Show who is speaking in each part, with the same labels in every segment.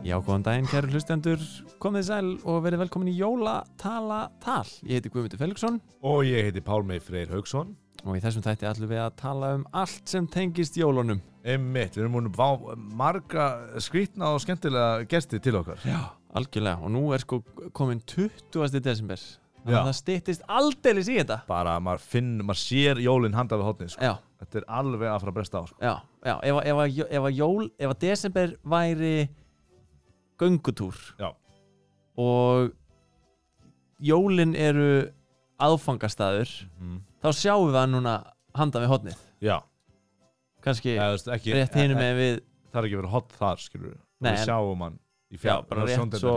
Speaker 1: Já, góðan daginn, kæru hlustendur, komið sæl og verið velkomin í Jólatala tal. Ég heiti Guðmundur Felixson
Speaker 2: Og ég heiti Pálmi Freyr Haugsson
Speaker 1: og í þessum þætti ætlum við að tala um allt sem tengist jólunum.
Speaker 2: Einmitt, við erum múin vá marga skrýtna og skemmtilega gesti til okkar
Speaker 1: Já. Algjörlega, og nú er sko komin 20. desember. Þannig
Speaker 2: Já.
Speaker 1: að það styttist aldeilis í þetta.
Speaker 2: Bara að maður finn, maður sér jólinn handa við hotnið sko.
Speaker 1: Já,
Speaker 2: Þetta er alveg að fara að bresta á sko.
Speaker 1: já, já, ef, að- ef, ef, ef að jól, ef að desember væri göngutúr
Speaker 2: Já.
Speaker 1: og jólin eru aðfangastæður, þá sjáum við hann núna handa við hotnið.
Speaker 2: Já,
Speaker 1: Kanski...
Speaker 2: eða, þú veist, ekki,
Speaker 1: rétt hinum
Speaker 2: e- e-
Speaker 1: með við
Speaker 2: Það er ekki verið hot þar skilur við
Speaker 1: Nei,
Speaker 2: Við
Speaker 1: en-
Speaker 2: sjáum hann í fjár
Speaker 1: Já, bara rétt svo-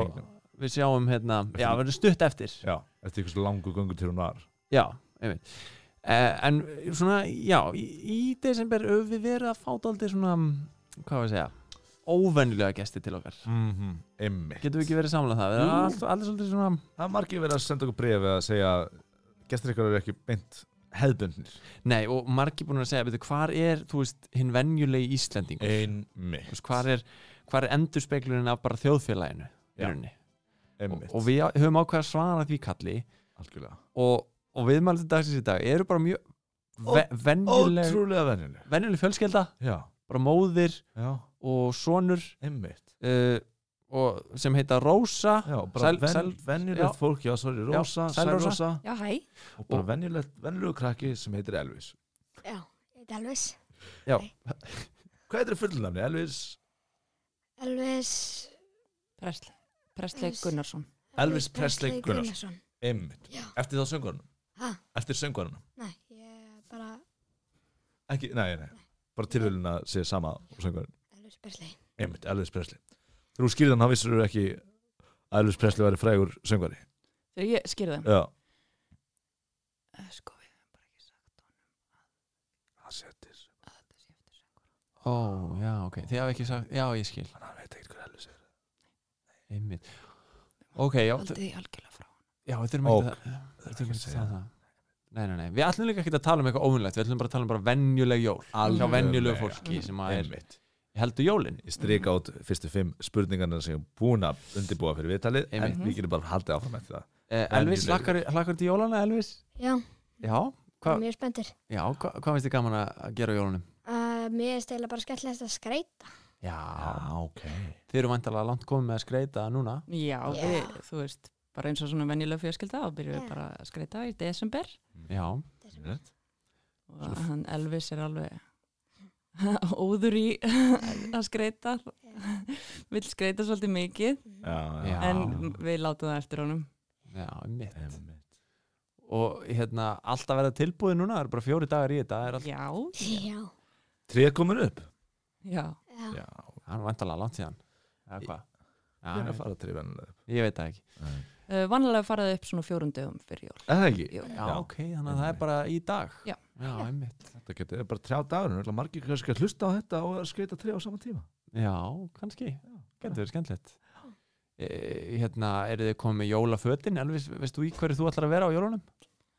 Speaker 1: við sjáum hérna, já, við erum stutt eftir
Speaker 2: Já, eftir ykkur svo langu göngu til hún var
Speaker 1: já, einmitt uh, en svona, já, í, í desember höfum við verið að fáta aldrei svona hvað var að segja, óvenjulega gesti til okkar,
Speaker 2: mm -hmm. Einmitt
Speaker 1: Mhm. getum við ekki verið samlega það við erum
Speaker 2: Jú.
Speaker 1: alltaf, alltaf svolítið svona
Speaker 2: Það er margir verið að senda okkur bregð að segja Gestir ykkur eru ekki beint hefðbundnir
Speaker 1: nei, og margir búin að segja, veitu, hvar er þú veist, hinn venjulegi Íslendingur
Speaker 2: Eh.
Speaker 1: Þú
Speaker 2: Einmitt
Speaker 1: veist, hvar er, hvar er endurspeglunin af bara þjóðfélaginu í
Speaker 2: Já,
Speaker 1: rauninni? og,
Speaker 2: Einmitt,
Speaker 1: og við höfum ákveð að svara því kalli
Speaker 2: algjörlega
Speaker 1: og, og viðmældu dagsins í dag eru bara mjög ve venjuleg,
Speaker 2: Ótrúlega venjuleg
Speaker 1: venjuleg fjölskelda
Speaker 2: Já,
Speaker 1: bara móðir
Speaker 2: já
Speaker 1: og sonur
Speaker 2: Einmitt.
Speaker 1: uh, og sem heita Rósa
Speaker 2: Já, bara
Speaker 1: Sæl-
Speaker 2: ven,
Speaker 1: sæl- já.
Speaker 2: venjulegt fólk, já, sorry,
Speaker 1: Já,
Speaker 2: Rósa,
Speaker 1: sæl
Speaker 2: Sælrosa
Speaker 1: Rósa.
Speaker 3: Já, hæ.
Speaker 2: og bara
Speaker 1: Og-
Speaker 2: venjulegt, venjulegu krakki sem heitir Elvis.
Speaker 3: Já, ég heiti Elvis.
Speaker 2: Hvað heitir fullnafni? Elvis,
Speaker 3: Elvis...
Speaker 4: Presley, Presley
Speaker 3: Elvis.
Speaker 4: Gunnarsson
Speaker 2: Elvis Presley Gunnarsson.
Speaker 3: Gunnarsson.
Speaker 2: Einmitt.
Speaker 3: Já.
Speaker 2: Eftir þá söngvarunum?
Speaker 3: Ha?
Speaker 2: Eftir söngvarunum?
Speaker 3: Nei, ég bara
Speaker 2: Ekki, nei, nei, bara tilhjölin að segja sama á söngvarunum.
Speaker 3: Elvis Presley.
Speaker 2: Einmitt, Elvis Presley. Þegar þú skýrðan, þá vissir þú ekki að Elvis Presley væri frægur söngvari.
Speaker 4: Þegar ég skýrði þeim
Speaker 2: Já.
Speaker 4: Eh, Sko við hefum bara ekki sagt honum
Speaker 2: Hann setir,
Speaker 4: að þetta sé eftir söngur
Speaker 1: Ó, já, ok, þið hafa ekki sagt já, ég skil,
Speaker 2: hann veit ekki hver Elvis er.
Speaker 1: einmitt ok, já,
Speaker 4: Haldið
Speaker 1: þ-
Speaker 4: því algjörlega frá hann
Speaker 1: já við þurfum
Speaker 2: Ok.
Speaker 1: ekki það við þurfum ekki að tala um það Nei, nei, nei, við ætlum líka ekki að tala um eitthvað óvunlegt Við ætlum bara að tala um bara venjuleg jól Hjá venjulegu fólki sem að er
Speaker 2: Einmitt.
Speaker 1: heldur jólin
Speaker 2: Ég strika át fyrstu fimm spurningarna sem ég er búin að undirbúa fyrir viðtalið, en
Speaker 1: Einmitt.
Speaker 2: við getum bara haldið áfram eftir það.
Speaker 1: eh, Elvis,
Speaker 2: Venjulegur.
Speaker 1: hlakkar hlakkar til jólana, Elvis?
Speaker 3: Já,
Speaker 1: Já, Hva-
Speaker 3: mjög spenntur.
Speaker 1: já, hva, hvað finnst þið gaman að að gera á jólunum?
Speaker 3: Uh, mér er stæla bara skellast að skreita.
Speaker 1: Já,
Speaker 2: ok
Speaker 1: þið eru vantarlega langt komið með að skreita núna
Speaker 4: Já,
Speaker 3: Já.
Speaker 4: Við, þú veist, bara eins og svona venjulega fjölskylda þá byrjum
Speaker 3: Já.
Speaker 4: við bara að skreita í desember
Speaker 1: Já,
Speaker 4: og hann Elvis er alveg óður í að skreita vill skreita svolítið mikið
Speaker 2: Já,
Speaker 1: Já.
Speaker 4: en við látum það eftir honum
Speaker 1: já, mitt og hérna alltaf verða tilbúið núna, það eru bara fjóri dagar í þetta það er alltaf,
Speaker 4: Já,
Speaker 3: Já.
Speaker 2: Tréð komin upp
Speaker 4: já
Speaker 3: Já.
Speaker 2: Já,
Speaker 1: það er vantalega langt síðan eða
Speaker 2: Í-
Speaker 1: hvað
Speaker 2: það
Speaker 1: Já,
Speaker 2: er að fara tréð vennilega upp
Speaker 1: ég veit það ekki
Speaker 4: uh, Vanlega faraði upp svona fjórum dögum fyrir jól
Speaker 2: Er það ekki?
Speaker 4: Jú.
Speaker 1: já,
Speaker 2: Já.
Speaker 1: ok, þannig að það er bara í dag
Speaker 4: Já.
Speaker 1: já, einmitt
Speaker 2: Þetta getur það er bara trjá dagur Það er margir kannski að hlusta á þetta og að skreita tréð á sama tíma
Speaker 1: já, kannski, getur verið skemmtilegt e, hérna, eru þið komið með jólafötin Elvis, veist þú í hverju þú ætlar að vera á jólunum?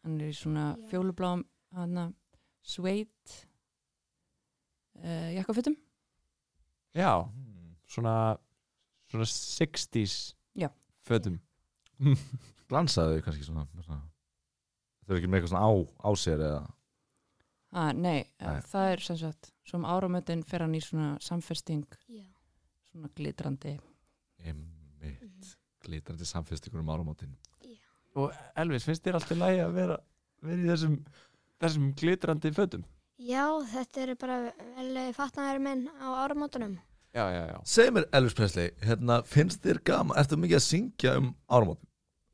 Speaker 4: hann er í svona
Speaker 3: Já.
Speaker 4: fjólubláum hana, sveit uh, jakkafutum
Speaker 1: já,
Speaker 2: Mm.
Speaker 1: svona svona 60s
Speaker 4: Já.
Speaker 1: fötum
Speaker 2: Glansaðu þau kannski svona, svona. Þau er ekki með eitthvað svona á, á sér eða
Speaker 4: ah, nei,
Speaker 2: Nei.
Speaker 4: nei, það er sem sagt sem áramöndin fer hann í svona samfesting
Speaker 3: Já.
Speaker 4: svona glitrandi
Speaker 2: Emmi
Speaker 3: Mhm.
Speaker 2: Glitrandi samfestingur um áramótin
Speaker 1: og Elvis, finnst þér alltaf lægi að vera, vera í þessum, þessum glitrandi fötum?
Speaker 3: Já, þetta eru bara velið fatnaður minn á áramótunum.
Speaker 1: já, já, já
Speaker 2: Segð mér Elvis Presley, hérna finnst þér gaman Ertu mikið að syngja um áramótin?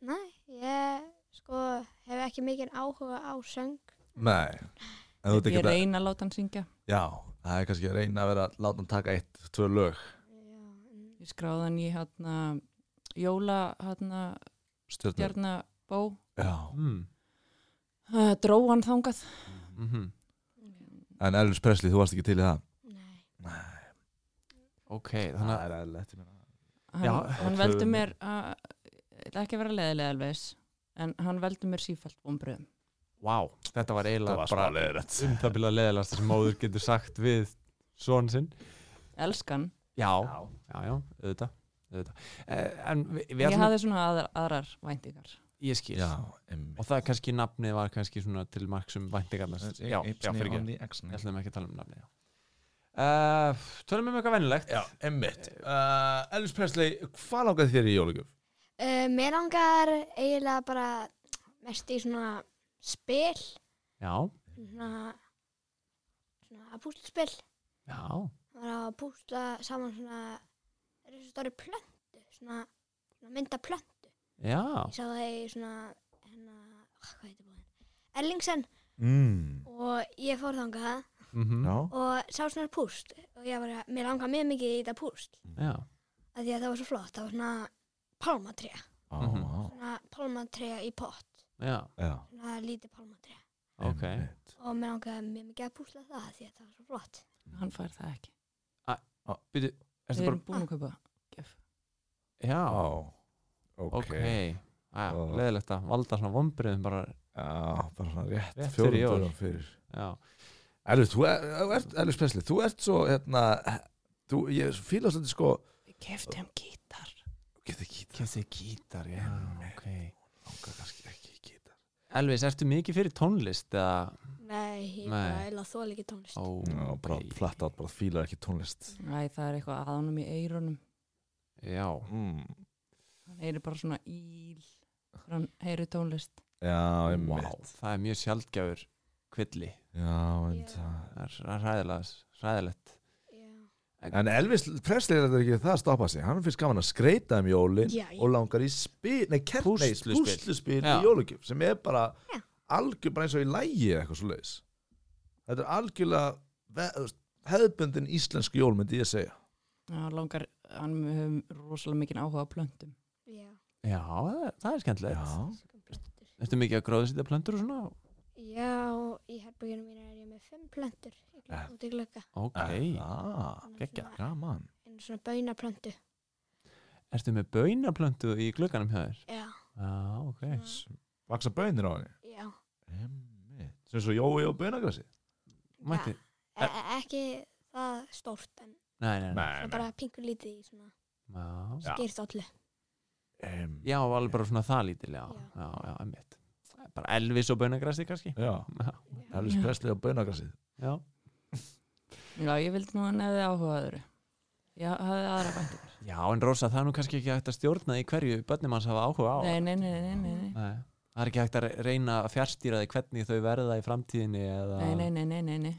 Speaker 3: Nei, ég sko hef ekki mikinn áhuga á söng.
Speaker 2: Nei En þú ert
Speaker 4: ég
Speaker 2: ekki að
Speaker 4: reyna að láta hann syngja
Speaker 2: Já, það er kannski að reyna að vera Láta hann taka eitt, tvö lög
Speaker 3: Já, en-
Speaker 4: ég skráði hann í hana, jóla hérna, hana,
Speaker 2: Stjörnur
Speaker 4: stjarnabó
Speaker 2: Já
Speaker 1: mm.
Speaker 4: uh, dró hann þangað
Speaker 1: Mm
Speaker 2: En Elvis Presley, þú varst ekki til í það
Speaker 3: Nei.
Speaker 1: ok, þannig að
Speaker 2: er eðlilegt ég meina.
Speaker 4: hann,
Speaker 1: Já,
Speaker 4: hann
Speaker 2: það
Speaker 4: veldi
Speaker 2: höfum við.
Speaker 4: mér að ekki að vera leðilega alveg en hann veldi mér sífælt vonbröðum
Speaker 1: Vá, þetta var eiginlega
Speaker 2: var
Speaker 1: bara
Speaker 2: leðilegt
Speaker 1: um það byrja leðilegast sem móður getur sagt við son sinn
Speaker 4: elskan
Speaker 1: Já, já, já, auðvitað auðvitað. Eh, en við, við
Speaker 4: Ég
Speaker 1: ætlum,
Speaker 4: hafði svona aðrar, aðrar væntingar
Speaker 1: ég skil
Speaker 2: Já, emmi
Speaker 1: og það er kannski nafnið var kannski svona til marksum væntingarnar já, já, fyrir ekki, ég
Speaker 2: ekki
Speaker 1: ætlum ekki að tala um nafnið já. uh, tölum um eitthvað venjulegt
Speaker 2: Já, emmitt
Speaker 1: Eh,
Speaker 2: uh, Elvis Presley, hvað langaði þér í jólugjöf?
Speaker 3: Uh, mér langar eiginlega bara mest í svona spil,
Speaker 1: já,
Speaker 3: svona, svona púslspil.
Speaker 1: já,
Speaker 3: Það var að púsla saman svona, það eru svo stóri plöntu, svona, svona mynda plöntu.
Speaker 1: já
Speaker 3: Ég sá það í svona, hérna, ah, hvað heitir búin? Erlingsen
Speaker 2: Mm.
Speaker 3: og ég fór þangað
Speaker 1: mhm,
Speaker 2: Já,
Speaker 3: og sá svona púst og ég var að, mér langar mjög mikið í þetta púst.
Speaker 1: já,
Speaker 3: Af því að það var svo flott, það var svona pálmatré,
Speaker 2: á,
Speaker 1: Mhm.
Speaker 2: á,
Speaker 3: svona pálmatré í pott,
Speaker 1: já,
Speaker 2: já
Speaker 3: svona lítið pálmatré.
Speaker 1: ok
Speaker 2: einmitt.
Speaker 3: Og mér langaði mjög mikið að púsla það af því að það var svo flott.
Speaker 4: Hann fær það ekki
Speaker 1: Býtu,
Speaker 4: Við
Speaker 1: ertu bara,
Speaker 4: erum búin að kaupa gjöf
Speaker 1: já,
Speaker 2: Á,
Speaker 1: ok
Speaker 2: ok
Speaker 1: Já,
Speaker 2: Ó.
Speaker 1: leðilegt að valda svona vombriðum bara,
Speaker 2: Já, bara svona rétt
Speaker 1: Rétt
Speaker 2: fjórum
Speaker 1: fyrir jól.
Speaker 2: dögum fyrir
Speaker 1: já,
Speaker 2: Elvis, þú er- þú ert, Elvis Presley, þú ert svo hérna, þú, ég fíla svolítið sko
Speaker 4: Við keftum gítar
Speaker 2: Geta gítar,
Speaker 1: kemst þið gítar, já, ok
Speaker 2: langar kannski ekki í gítar
Speaker 1: Elvis, ertu mikið fyrir tónlist eða,
Speaker 3: Nei, ég
Speaker 1: Nei.
Speaker 3: bara eila þól ekki tónlist.
Speaker 1: ó,
Speaker 2: Já, bara flatt átt, bara fílar ekki tónlist
Speaker 4: Æ, það er eitthvað aðanum í eyrunum
Speaker 1: já,
Speaker 2: mm.
Speaker 4: Hann heyri bara svona íl þegar Hann heyri tónlist
Speaker 2: Já, einmitt
Speaker 1: wow, það er mjög sjaldgjafur kvilli,
Speaker 2: Já, en
Speaker 3: Já.
Speaker 2: það
Speaker 1: það er- það er hræðilega hræðilegt,
Speaker 3: Já,
Speaker 2: En Elvis Presley er þetta ekki það að stoppa sig Hann finnst gaman að skreita um jólin
Speaker 3: Já,
Speaker 2: og langar í spil, nei, kert, nei
Speaker 1: Púsluspil.
Speaker 2: púsluspil í
Speaker 1: Já.
Speaker 2: jólugjöf sem er bara
Speaker 3: Já.
Speaker 2: algjör bara eins og í lægi eða eitthvað svo leiðis Þetta er algjörlega ve- þú veist, hefðbundin íslensk jól myndi ég að segja
Speaker 4: Hann langar, hann við höfum rosalega mikið áhuga á plöntum
Speaker 3: já,
Speaker 1: já, það er- það er skemmtilegt
Speaker 3: sko plöntur.
Speaker 1: Ertu mikið að gróðsýta plöntur og svona?
Speaker 3: Já, í herbygginu mínu er ég með fimm plöntur í glugga-
Speaker 2: Eh.
Speaker 3: út í glögga.
Speaker 1: Ok,
Speaker 2: ah,
Speaker 1: geggjað.
Speaker 2: gaman
Speaker 3: En svona baunaplöntu.
Speaker 1: ertu með baunaplöntu í glugganum hjá þér?
Speaker 3: Já,
Speaker 1: Já, ok
Speaker 3: svona,
Speaker 2: Vaksa bönir á henni
Speaker 3: já.
Speaker 2: Einmitt. sem svo Jói og bönagrassi
Speaker 1: Mætti,
Speaker 3: E e- ekki það stórt, en
Speaker 1: nei, nei, nei
Speaker 3: það er bara pingur lítið í svona
Speaker 1: Já,
Speaker 2: Já.
Speaker 3: skýrt allu.
Speaker 2: Em,
Speaker 1: já alveg bara svona það lítilega
Speaker 3: Já.
Speaker 1: Já, já, emmitt Bara Elvis og baunagrassi kannski
Speaker 2: já,
Speaker 1: Já,
Speaker 2: Elvis
Speaker 4: Já.
Speaker 2: Presley og bönagrassi
Speaker 1: já,
Speaker 4: Já, ég vildi nú hann hefði áhuga á öðru Ég hafði aðra væntingar
Speaker 1: já en Rósa, það er nú kannski ekki hægt að stjórna í hverju börnum hans hafa áhuga á
Speaker 4: Nei, nei, nei, nei, nei, nei.
Speaker 1: Nei. Það er ekki hægt að reyna að fjárstýra því hvernig þau verða í framtíðinni eða,
Speaker 4: Nei, nei, nei, nei, nei, nei.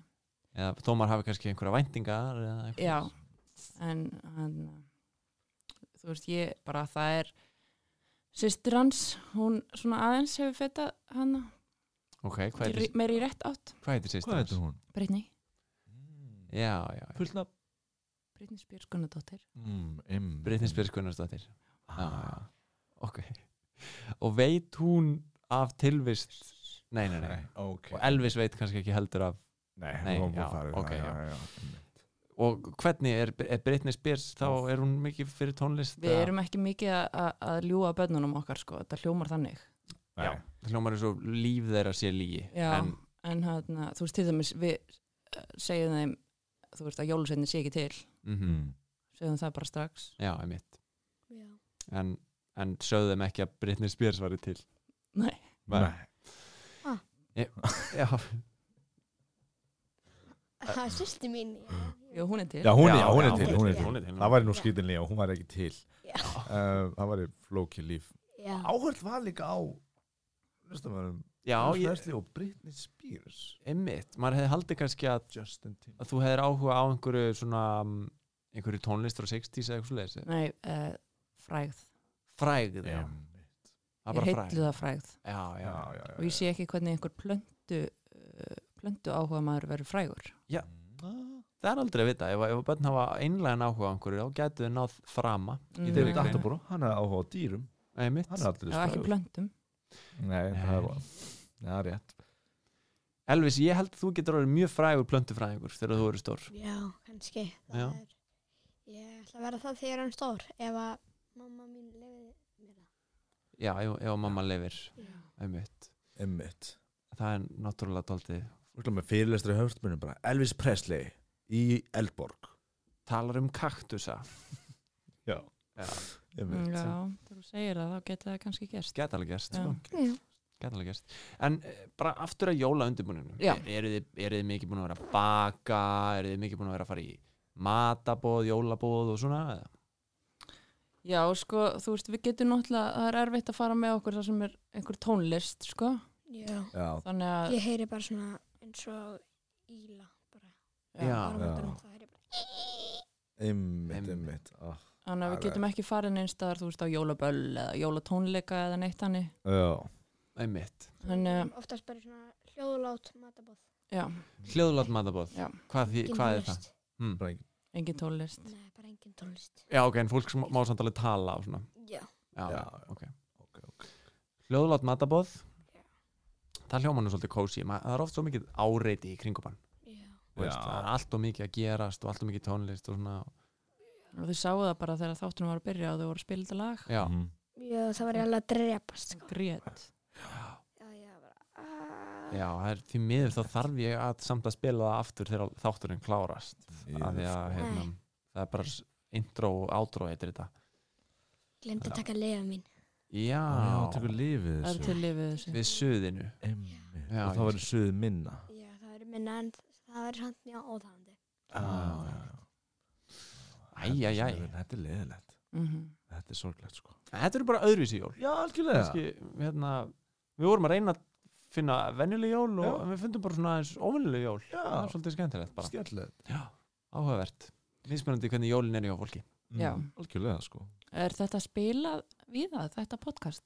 Speaker 1: eða Tómar hafi kannski einhverja væntingar eða eitthvað.
Speaker 4: Já, en hann, þú veist, ég bara, það er sýstir hans, hún svona aðeins hefur feta hann
Speaker 1: Ok, hvað heitir,
Speaker 4: meir í rétt átt,
Speaker 1: hvað heitir sýstir?
Speaker 2: Hvað heitir hún?
Speaker 4: Brynni,
Speaker 2: Mm.
Speaker 1: Já, já, já.
Speaker 2: Fullt nafn
Speaker 4: Brynni Spjörskunnadóttir.
Speaker 2: Mm,
Speaker 1: Britney
Speaker 2: einmitt.
Speaker 1: Spears Gunnarsdóttir Já, já.
Speaker 2: Ah,
Speaker 1: Ok Og veit hún af tilvist Nei, nei, nei
Speaker 2: Nei, ok
Speaker 1: Og Elvis veit kannski ekki heldur af
Speaker 2: Nei,
Speaker 1: Nei,
Speaker 2: hún var búin
Speaker 1: já,
Speaker 2: að fara yfir
Speaker 1: ok,
Speaker 2: það,
Speaker 1: já.
Speaker 2: já, já.
Speaker 1: Og hvernig er, er Britney Spears þá er hún mikið fyrir tónlist
Speaker 4: Við erum ekki mikið að- að, að ljúa bönnunum okkar, sko, þetta hljómar þannig.
Speaker 2: Nei.
Speaker 1: Já. Það hljómar eins og líf þeirra sé lígi
Speaker 4: Já,
Speaker 1: En
Speaker 4: en, hann, þú veist, til dæmis, við eh, segjum þeim, þú veist, að jólusveitin sé ekki til,
Speaker 1: mhm,
Speaker 2: Mm.
Speaker 4: segjum það bara strax.
Speaker 1: Já, einmitt
Speaker 3: Já.
Speaker 1: En, en sögðum ekki að Britney Spears væri til
Speaker 4: Nei,
Speaker 1: Nei.
Speaker 2: Nei.
Speaker 1: Já,
Speaker 3: Það er sýsti mín.
Speaker 4: Jú, hún er til.
Speaker 2: Já, hún,
Speaker 1: Já,
Speaker 2: já, hún er
Speaker 1: já,
Speaker 2: til, hún er til.
Speaker 1: Hún er til
Speaker 2: Það væri nú skýtinlega og hún væri ekki til
Speaker 3: Já.
Speaker 2: uh, Það væri flókið líf
Speaker 3: Já.
Speaker 2: Áhörð var líka á Lustamörum
Speaker 1: Já, ég,
Speaker 2: Leslie og Britney Spears
Speaker 1: einmitt Maður hefði haldið kannski að,
Speaker 2: Justin Timberlake
Speaker 1: að þú hefðir áhuga á einhverju svona mm, einhverju tónlist frá 60s eða eitthvað leis
Speaker 4: Nei, uh, frægð.
Speaker 1: Frægð já.
Speaker 2: Einmitt.
Speaker 1: Það er
Speaker 4: Ég
Speaker 1: bara
Speaker 4: heitlu
Speaker 1: frægð
Speaker 4: það frægð.
Speaker 1: Já, já,
Speaker 2: Já, já,
Speaker 4: og ég sé ekki hvernig einhver plöntu uh, plöntu áhuga maður verður frægur
Speaker 1: Já.
Speaker 2: Mm.
Speaker 1: Það er aldrei að vita, ef, ef börn hafa einlega áhuga á einhverju, þá getur þau náð frama
Speaker 4: Mm.
Speaker 1: þeirri
Speaker 2: David
Speaker 1: grein.
Speaker 2: Attenborough, hann er áhuga á dýrum
Speaker 1: Nei, mitt.
Speaker 2: Hann er aldrei
Speaker 4: það var ekki
Speaker 2: spæður
Speaker 4: plöntum
Speaker 2: Nei, það er Já, rétt
Speaker 1: Elvis, ég held að þú getur orðið mjög frægur plöntufræðingur þegar þú eru stór
Speaker 3: Já, kannski. Það
Speaker 1: Já.
Speaker 3: Er, ég ætla að vera það þegar hann er stór ef að mamma mín lefið mér það.
Speaker 1: Já, ef, ef mamma lifir einmitt.
Speaker 2: Einmitt
Speaker 1: Það er náttúrulega daldið
Speaker 2: Þú ætlum með fyrirlestri höfstmönum bara Elvis Presley í Eldborg
Speaker 1: Talar um kaktusa
Speaker 2: Já einmitt.
Speaker 4: Já, Mm. þegar þú segir það þá geta það kannski gerst.
Speaker 1: Gæti alveg gerst,
Speaker 4: Já.
Speaker 1: sko.
Speaker 3: Já.
Speaker 1: Gæti alveg gerst. En eh, bara aftur að jóla undirbúninu.
Speaker 4: Já.
Speaker 1: Eru þið, eru þið mikið búin að vera að baka? Eru þið mikið búin að vera að fara í matabóð, jólabóð og svona? eða?
Speaker 4: Já, sko, þú veist, við getum náttúrulega, það er erfitt að fara með okkur það sem er einhver tónlist, sko.
Speaker 3: Já.
Speaker 2: Já,
Speaker 4: Þannig að,
Speaker 3: Ég heyri bara svona eins og íla bara.
Speaker 1: Já.
Speaker 3: Bara á
Speaker 2: Já.
Speaker 3: mótunum, þá heyri ég bara.
Speaker 2: einmitt,
Speaker 1: Einmitt.
Speaker 2: einmitt ah,
Speaker 4: þannig að við
Speaker 2: Alveg.
Speaker 4: getum ekki farið neins staðar, þú veist, á jólaböll eða jólatónleika eða neitt þannig. eh,
Speaker 2: Já,
Speaker 1: Einmitt.
Speaker 4: Þannig að,
Speaker 3: Mm, Oftast bara í svona hljóðlát matabóð.
Speaker 4: já,
Speaker 1: Hljóðlátt matabóð.
Speaker 4: Já.
Speaker 1: Hvað, því,
Speaker 3: Engin
Speaker 1: hvað er það?
Speaker 3: tónlist.
Speaker 1: Hmm.
Speaker 2: bara ekki
Speaker 4: engin tónlist.
Speaker 3: Nei, bara engin tónlist.
Speaker 1: Já, ok, en fólk sem má samt alveg tala og svona.
Speaker 3: Já.
Speaker 1: Já,
Speaker 2: Já,
Speaker 1: já.
Speaker 2: já.
Speaker 1: ok.
Speaker 2: ok, ok
Speaker 1: Hljóðlátt matabóð.
Speaker 3: Já.
Speaker 1: Það hljóma nú svolítið kósi. Það er oft svo mikið áreiti í kringum hann.
Speaker 3: Já.
Speaker 1: Þú Veist,
Speaker 2: Já.
Speaker 1: það er allt og mikið að gerast og allt og mikið tónlist og svona.
Speaker 4: Og þau sáu það bara þegar þáttunum var að byrja og þau voru að spila þetta lag.
Speaker 1: Já.
Speaker 2: Mhm.
Speaker 3: Já, það var ég alveg að drepast,
Speaker 4: Sem
Speaker 3: sko.
Speaker 4: Grét.
Speaker 3: Já, já, bara. "Ah." aaaah.
Speaker 1: Já, það er því miður þá þarf ég að samt að spila það aftur þegar þátturinn klárast af því
Speaker 2: sko.
Speaker 1: að hérna,
Speaker 3: Nei.
Speaker 1: það er bara s- intro og outro heitir þetta
Speaker 3: Glemd að taka leiða mín.
Speaker 1: Já,
Speaker 2: Já, tekur lífið
Speaker 4: Það er
Speaker 2: þessu
Speaker 4: til lifið þessu.
Speaker 1: við suðinu
Speaker 2: Einmitt.
Speaker 1: Já, ég
Speaker 2: Og það verður suð minna
Speaker 3: Já, það verður minna en það verður samt mjög óþáðandi.
Speaker 1: Já, já,
Speaker 2: Ah, Þetta er
Speaker 1: Æjæjæ
Speaker 2: svona- Þetta er leðilegt
Speaker 4: Mhm.
Speaker 2: Þetta er sorglegt sko
Speaker 1: Þetta eru bara öðruvísi jól
Speaker 2: Já, algjörlega
Speaker 1: Kanski, hérna, Við vorum að reyna að finna venjuleg jól og
Speaker 2: Já.
Speaker 1: en við fundum bara svona aðeins óvenjuleg jól Það er
Speaker 2: Já,
Speaker 1: svolítið skemmtilegt bara
Speaker 2: skemmtilegt
Speaker 1: Já, áhugavert Mismunandi hvernig jólin er hjá fólki
Speaker 4: Já.
Speaker 2: Mm, Algjörlega sko
Speaker 4: Er þetta spilað við það, þetta podcast?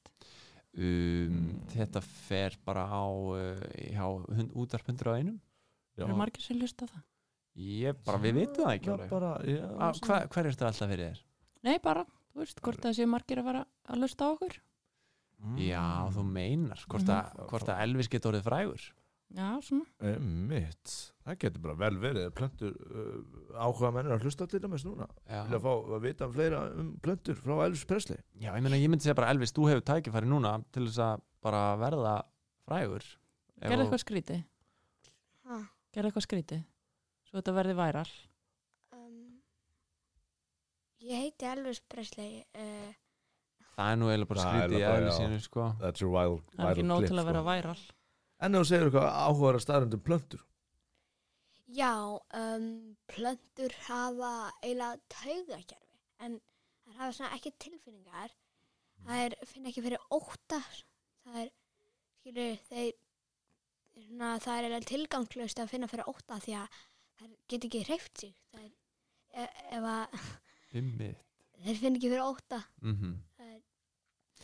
Speaker 1: um,
Speaker 2: Mm.
Speaker 1: Þetta fer bara á uh, hjá hund- útvarp 101
Speaker 2: Já.
Speaker 4: Eru margir sem hlusta á það?
Speaker 1: Ég bara, við vitum það ekki
Speaker 2: Já,
Speaker 1: alveg. Ah,
Speaker 2: bara, já, sko.
Speaker 1: Á,
Speaker 2: svona.
Speaker 1: hva, Hver er þetta alltaf fyrir þér?
Speaker 4: Nei, bara, þú veist, hvort það séu margir að vera að hlusta á okkur?
Speaker 2: Mm.
Speaker 1: Já, þú meinar hvort, að, hvort að Elvis getur orðið frægur
Speaker 4: Já, svona.
Speaker 2: Einmitt. Það getur bara vel verið Plöntur, uh, áhuga mennir að hlusta til dæmis núna Vilja
Speaker 1: Já,
Speaker 2: fá að vita fleira um plöntur frá Elvis Presley
Speaker 1: Já ég, meina, ég myndi segja bara Elvis, þú hefur tækifæri núna til þess að bara verða frægur Ef
Speaker 4: Gerðu
Speaker 1: þú-
Speaker 4: eitthvað skrítið?
Speaker 3: Ha,
Speaker 4: Gerðu eitthvað skrítið? Svo þetta verði væral.
Speaker 3: um, ég heiti Elvis Presley. Uh,
Speaker 1: Það er nú eiginlega bara
Speaker 2: Það er
Speaker 1: skrítið í
Speaker 2: bara, já.
Speaker 1: Elvisinu sko.
Speaker 2: That's your wild, sko.
Speaker 4: Það er ekki nóg til að vera væral.
Speaker 2: En ef þú segir eitthvað áhugaðar að staðrendum plöntur
Speaker 3: já, um, plöntur hafa eiginlega taugakerfi, en það hafa svona ekki tilfinningar. Það er, finna ekki fyrir óta, það er, skilur, þeir, svona, það er eiginlega tilgangslöst að finna fyrir óta því að það get ekki hreift sig. Það er, e ef að
Speaker 1: Einmitt.
Speaker 3: þeir finna ekki fyrir óta,
Speaker 1: Mhm.
Speaker 3: það er,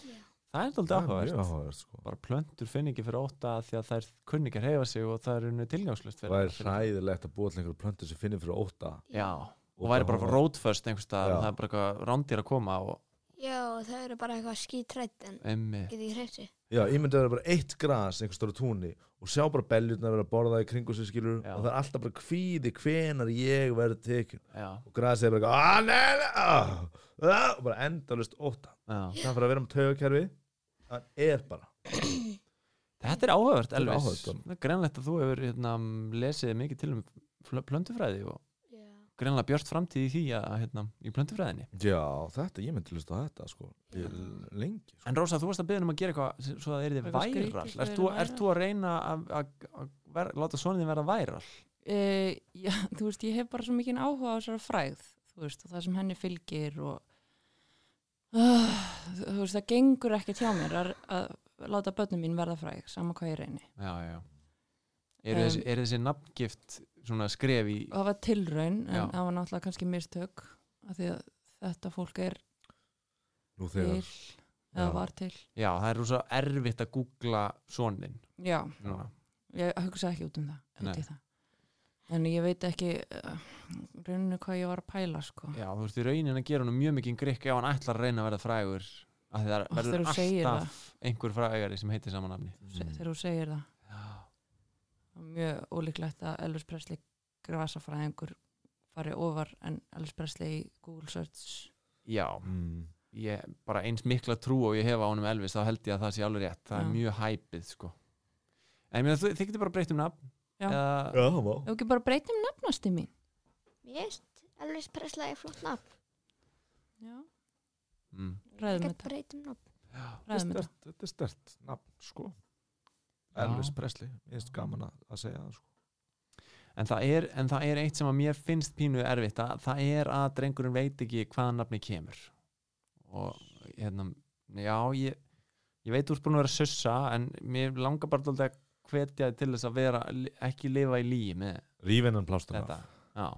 Speaker 3: já.
Speaker 1: Það er
Speaker 2: Það
Speaker 1: dálítið
Speaker 2: er mjög
Speaker 1: áhugavert
Speaker 2: áhugavert sko
Speaker 1: bara plöntur finn ekki fyrir óta því að þær kunni ekki að reyfa sig og það er unni tilgangslust fyrir
Speaker 2: Það er
Speaker 1: fyrir-
Speaker 2: hræðilegt að búa til einhverju plöntur sem finnir fyrir óta
Speaker 1: Já, og væri bara rótföst einhvers staðar
Speaker 2: Já.
Speaker 1: og það er bara eitthvað rándýr að koma og
Speaker 3: Já, þau eru bara eitthvað skítrætt
Speaker 4: Eh.
Speaker 3: en
Speaker 1: emmi
Speaker 3: getið ekki hreift sig.
Speaker 2: Já, ég myndi að vera bara eitt gras einhvers stóru túnni og sjá bara belljutna að vera að borða í kringu sem skilur
Speaker 1: Já.
Speaker 2: og það er alltaf bara kvíði hvenar ég verði tekin
Speaker 1: Já,
Speaker 2: og grasið er bara eitthvað "Ah, nei, nei, ah, ah," og bara endalust óta
Speaker 1: já
Speaker 2: það fyrir að vera um taugakerfi það er bara
Speaker 1: Þetta er áhugavert,
Speaker 2: Þetta er
Speaker 1: Elvis.
Speaker 2: áhugavert, Tom.
Speaker 1: Það er greinlegt að þú hefur hérna, lesið mikið til um fl- plöndufræði og
Speaker 3: Já.
Speaker 1: greinlega björt framtíð í því að, hérna, í plöndufræðinni.
Speaker 2: Já, þetta, ég myndi hlusta á þetta sko
Speaker 3: Já.
Speaker 2: ég, lengi sko.
Speaker 1: En Rósa, þú varst að beða um að gera eitthvað s- svo að það er þið
Speaker 4: Eitthvað skrítið
Speaker 1: væral.
Speaker 4: sem
Speaker 1: Ert
Speaker 4: yrði
Speaker 1: þú,
Speaker 4: væral.
Speaker 1: er þú að reyna að, að, að ver, láta sonið þið vera væral?
Speaker 4: Uh, já, þú veist, ég hef bara svo mikinn áhuga á þessari fræð, þú veist, og það sem henni fylgir og uh, þú veist, það gengur ekki hjá mér að, að láta börnum mín verða fræg, sama hvað ég reyni.
Speaker 1: Já, já. Eru
Speaker 4: Em.
Speaker 1: þessi, er þessi nafngift svona skref í...
Speaker 4: Og það var tilraun, en
Speaker 1: Já.
Speaker 4: það var náttúrulega kannski mistök, af því að þetta fólk er
Speaker 2: Nú
Speaker 4: til,
Speaker 2: þegar Mm.
Speaker 4: eða
Speaker 2: Já.
Speaker 4: var til.
Speaker 1: Já, það er rosa erfitt að googla sonin.
Speaker 4: Já,
Speaker 1: Já.
Speaker 4: ég hugsa ekki út um það, út
Speaker 1: Nei.
Speaker 4: í það. En ég veit ekki uh, rauninu hvað ég var að pæla, sko.
Speaker 1: já, þú veist, í raunin að gera hann mjög mikið grikk ef hann ætlar að reyna að verða frægur. Af því Það
Speaker 4: Og
Speaker 1: verður
Speaker 4: þegar þú segir það.
Speaker 1: alltaf einhver frægari sem heitir saman nafni.
Speaker 4: Se- þegar þú segir það.
Speaker 1: Já.
Speaker 4: og mjög ólíklegt að Elvis Presley grasafræðingur fari ofar en Elvis Presley í Google search
Speaker 1: Já,
Speaker 2: mm.
Speaker 1: ég bara eins mikla trú og ég hef á honum Elvis þá held ég að það sé alveg rétt, það
Speaker 4: Já.
Speaker 1: er mjög hæpið sko. en ég meina, þið, þið getur bara breytt um nafn
Speaker 4: Já.
Speaker 1: eða,
Speaker 2: Já, það má
Speaker 4: og ekki bara breytum nefnasti mín
Speaker 3: Mér finnst Elvis Presley flott nafn.
Speaker 4: já.
Speaker 1: mm.
Speaker 4: ræðum
Speaker 3: Gæt
Speaker 4: þetta,
Speaker 3: breytum um nafn.
Speaker 4: ræðum þetta.
Speaker 2: stert, þetta er stert nafn sko
Speaker 1: Já.
Speaker 2: Elvis Presley, ég finnst gaman að, að segja það sko.
Speaker 1: en, það er, en það er eitt sem að mér finnst pínu erfitt að, það er að drengurinn veit ekki hvaðan nafni kemur og hérna já, ég, ég veit þú ert búin að vera að sussa en mér langar bara dálítið að hvetja þig til þess að vera, ekki lifa í líi með
Speaker 3: um
Speaker 2: Rífinan plástur
Speaker 1: þetta já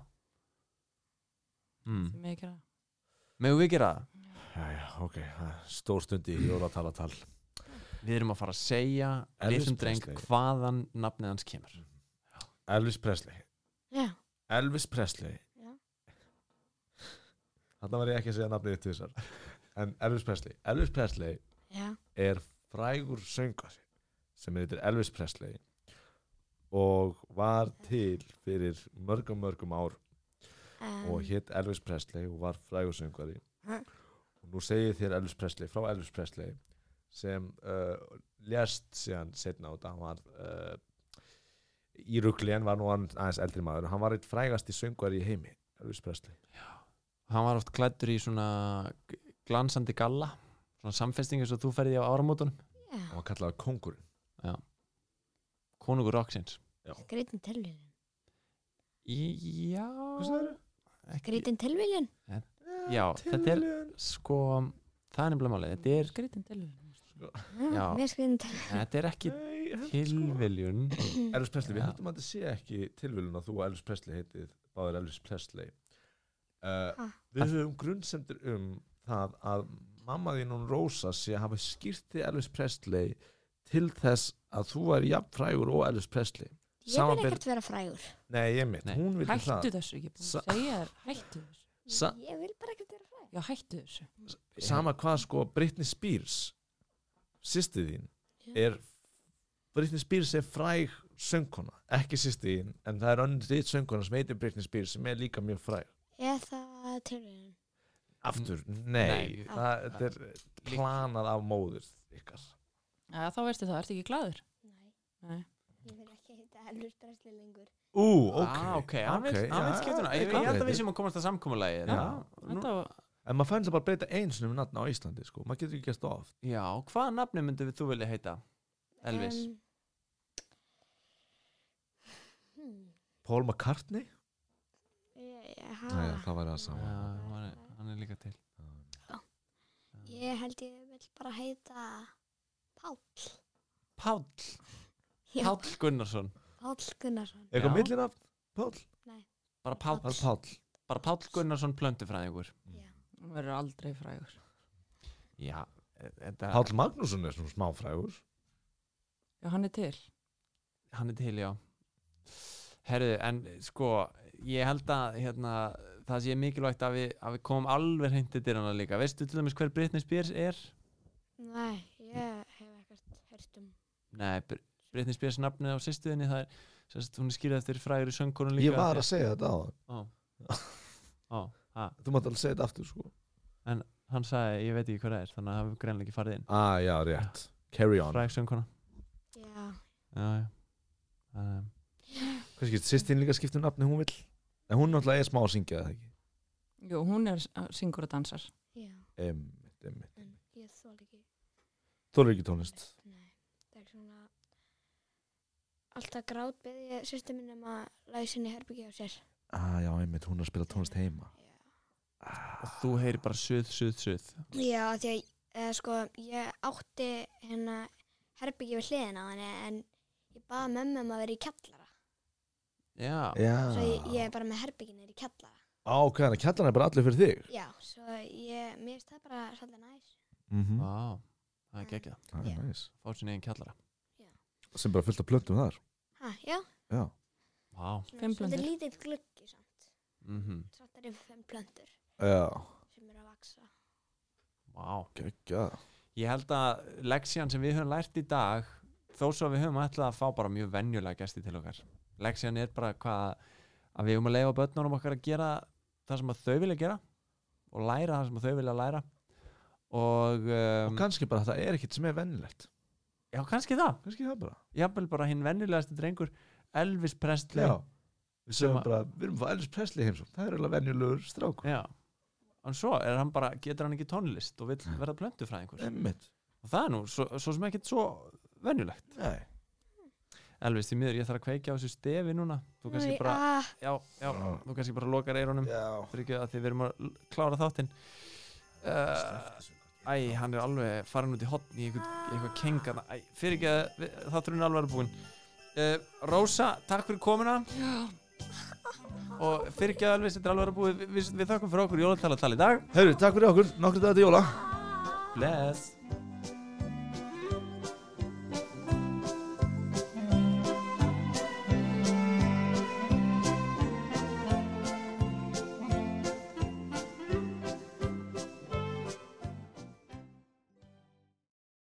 Speaker 1: mm.
Speaker 4: Sem ég gera.
Speaker 1: meðum við gera það?
Speaker 2: Jæja, ok, það er stór stundi í jólatalatal
Speaker 1: við erum að fara að segja
Speaker 2: Elvis
Speaker 1: litlum dreng
Speaker 2: Presley.
Speaker 1: hvaðan nafnið hans kemur
Speaker 2: Elvis Presley
Speaker 3: Já.
Speaker 2: Elvis Presley
Speaker 3: Já.
Speaker 2: Þarna var ég ekki að segja nafnið til þessar En Elvis Presley Elvis Presley
Speaker 3: Já.
Speaker 2: er frægur söngar sem heitir Elvis Presley og var til fyrir mörgum mörgum ár
Speaker 3: Um,
Speaker 2: og hétt Elvis Presley og var frægur söngari
Speaker 3: Ha?
Speaker 2: og nú segir þér Elvis Presley frá Elvis Presley sem uh, lest síðan setna á þetta hann var uh, í rugli en var nú hann aðeins eldri maður hann var eitt frægasti söngari í heimi Elvis Presley
Speaker 1: hann var oft klættur í svona glansandi galla svona samfestingu svo þú ferði á áramótunum
Speaker 3: Já.
Speaker 2: og hann kallaði kongurinn
Speaker 1: konungur roksins
Speaker 3: Greitin tilviljun.
Speaker 1: Í- já ekki,
Speaker 3: Greitin tilviljun.
Speaker 1: já, þetta er sko það er nefnilega málið, þetta er,
Speaker 4: Skrítin til.
Speaker 1: Já.
Speaker 3: Hm, Mér skriðin til.
Speaker 1: þetta er ekki sko-
Speaker 2: Elvis
Speaker 1: tilviljun
Speaker 2: Sko. Presley, við
Speaker 1: Já.
Speaker 2: hættum að þetta sé ekki tilvölun að þú og Elvis Presley heitið báðir Elvis Presley uh,
Speaker 3: Ha.
Speaker 2: Við höfum grunnsendur um það að mamma þín hún Rósa sé að hafa skýrti Elvis Presley til þess að þú væri jafn frægur og Elvis Presley
Speaker 3: Ég vil
Speaker 2: Samanber-
Speaker 3: ekkert vera frægur.
Speaker 2: Nei, ég mitt,
Speaker 1: Nei.
Speaker 2: hún vil
Speaker 4: Hættu
Speaker 2: það
Speaker 4: þessu, ég er búin
Speaker 2: Sa-
Speaker 4: að segja þér, hættu þessu.
Speaker 2: Sa-
Speaker 3: Ég vil bara ekkert vera frægur.
Speaker 4: Já, hættu þessu.
Speaker 2: Sama hvað sko Britney Spears sýsti þín er Britney Spears er fræg söngkona, ekki sýsti þín en það er önnur eitt söngkona sem heitir Britney Spears sem er líka mjög fræg
Speaker 3: Eða tilviljun.
Speaker 2: Aftur, nei,
Speaker 1: Nei.
Speaker 2: það, þetta er planað af móður ykkar
Speaker 4: Já, þá veistu það, ertu ekki gladur?
Speaker 3: Nei.
Speaker 4: Nei.
Speaker 3: Ég vil ekki hitta Elvis Presley lengur.
Speaker 2: Ú,
Speaker 1: ah, ok, hann vil, hann vil skiptuna ég, ég held að við sem að komast að samkomulagi
Speaker 2: Já.
Speaker 1: nú,
Speaker 4: Þetta var,
Speaker 2: En maður fændi það bara að breyta eins um nafn á Íslandi, sko, maður getur ekki gæst of
Speaker 1: já, hvaða nafni myndum við þú vilja heita? Elvis
Speaker 3: Em, hmm,
Speaker 2: Paul McCartney?
Speaker 3: ég,
Speaker 2: Nei,
Speaker 1: Ah.
Speaker 3: ég,
Speaker 2: það væri það
Speaker 1: já,
Speaker 2: sama
Speaker 1: hann er, hann er líka til
Speaker 3: ég held ég vil bara heita Páll.
Speaker 1: Páll,
Speaker 3: Já.
Speaker 1: Páll Gunnarsson
Speaker 3: Páll Gunnarsson.
Speaker 2: Er Eitthvað
Speaker 1: Já.
Speaker 2: millinafn? Páll?
Speaker 1: bara Páll,
Speaker 2: Það er Páll
Speaker 1: bara Páll Gunnarsson plöndufræðingur
Speaker 2: Mm.
Speaker 4: hún verður aldrei frægur.
Speaker 1: já, e- þetta,
Speaker 2: Páll Magnússon er svona smáfrægur
Speaker 4: Já, hann er til.
Speaker 1: hann er til, já herðu, en sko ég held að hérna, það sé mikilvægt að við, að við komum alveg hreint til hana líka, veistu til dæmis hver Britney Spears er?
Speaker 3: Nei, ég hef ekkert hört um.
Speaker 1: Nei, Br- Britney Spears nafnið á sýstuðinni það er, sérst, hún er skýrað eftir frægri söngkonun líka
Speaker 2: Ég var að segja þetta á
Speaker 1: Ó. Ó, ha.
Speaker 2: Þú mátt alveg segja þetta aftur, sko
Speaker 1: hann sagði, ég veit ekki hvað það er þannig að hafa greinlega ekki farið inn
Speaker 2: Ah, já, rétt Carry on
Speaker 1: fræg söngkona
Speaker 3: Já,
Speaker 1: já, já. Um,
Speaker 2: Hvað skipt, sýstin líka skipt um nafni hún vill En hún náttúrulega er smá að syngja það ekki
Speaker 4: Jú, hún er syngur og dansar.
Speaker 3: já,
Speaker 2: Einmitt, einmitt.
Speaker 3: en ég þól ekki.
Speaker 2: Þú eru ekki tónlist
Speaker 3: Nei, það er svona alltaf grát beði ég sýstu minn um að læsa henni herbyggi á sér.
Speaker 2: Ah, já, einmitt, hún er að spila tónlist heima
Speaker 3: Já,
Speaker 1: og þú heyri bara suð, suð, suð
Speaker 3: já af því að eða, sko, ég átti hérna herbyggi við hliðin á henni en ég baði mömmu um að vera í kjallara.
Speaker 1: já,
Speaker 2: Já
Speaker 3: Svo
Speaker 1: Ah.
Speaker 3: ég, ég er bara með herbyggin er í kjallara.
Speaker 2: Á, ok, þannig að kjallan er bara allir fyrir þig
Speaker 3: Já, svo ég, mér finnst það bara svolítið næs.
Speaker 2: mm
Speaker 1: vá, það er gekkja
Speaker 2: Það
Speaker 3: Já.
Speaker 2: er næs
Speaker 1: fá sér neginn kjallara
Speaker 2: Sem bara fullt af plöntum þar
Speaker 3: Ha, já,
Speaker 2: Já
Speaker 1: vá,
Speaker 3: svona
Speaker 4: Fimm
Speaker 3: svolítið
Speaker 4: plöntur.
Speaker 3: lítill gluggi samt.
Speaker 1: mhm,
Speaker 3: Samt er yfir fimm plöndur
Speaker 2: Já,
Speaker 3: sem eru að vaksa.
Speaker 1: vá
Speaker 2: geggja
Speaker 1: ég held að leksían sem við höfum lært í dag þó svo að við höfum ætlað að fá bara mjög venjulega gesti til okkar leksían er bara hvað að við höfum að leifa börnunum okkar að gera það sem að þau vilja gera og læra það sem að þau vilja læra og,
Speaker 2: Og
Speaker 1: um,
Speaker 2: kannski bara það er ekkert sem er vennilegt
Speaker 1: já kannski það
Speaker 2: Kannski það bara
Speaker 1: jafnvel bara hinn venjulegasti drengur Elvis Presley
Speaker 2: Já Við
Speaker 1: Sem
Speaker 2: segjum
Speaker 1: að-
Speaker 2: bara, við erum fæðlis Presley heimsum Það er alveg venjulegur strákur
Speaker 1: Já. en svo er hann bara, getur hann ekki tónlist og vill verða plöntufræðingur
Speaker 2: Einmitt.
Speaker 1: og það er nú, svo, svo sem ekkert svo venjulegt
Speaker 2: Nei.
Speaker 1: Elvis, því miður, ég þarf að kveikja á þessu stefi núna þú kannski
Speaker 3: Æ,
Speaker 1: bara,
Speaker 3: ah,
Speaker 1: já, já þú kannski bara lokar eyrunum
Speaker 2: Já.
Speaker 1: fyrir ekki að því við erum að l- klára þáttinn uh, Æ, hann er alveg farin út í hotn í eitthvað, eitthvað kengana Æ, fyrir ekki að þátturinn er alveg að búin uh, Rósa, takk fyrir komuna
Speaker 4: Já.
Speaker 1: og fyrir ekki að Elvis, þetta er alveg að búin við, við, við þakkum fyrir okkur jólatalatal í dag
Speaker 2: Herru, takk fyrir okkur, nokkru dagar til jóla
Speaker 1: Bless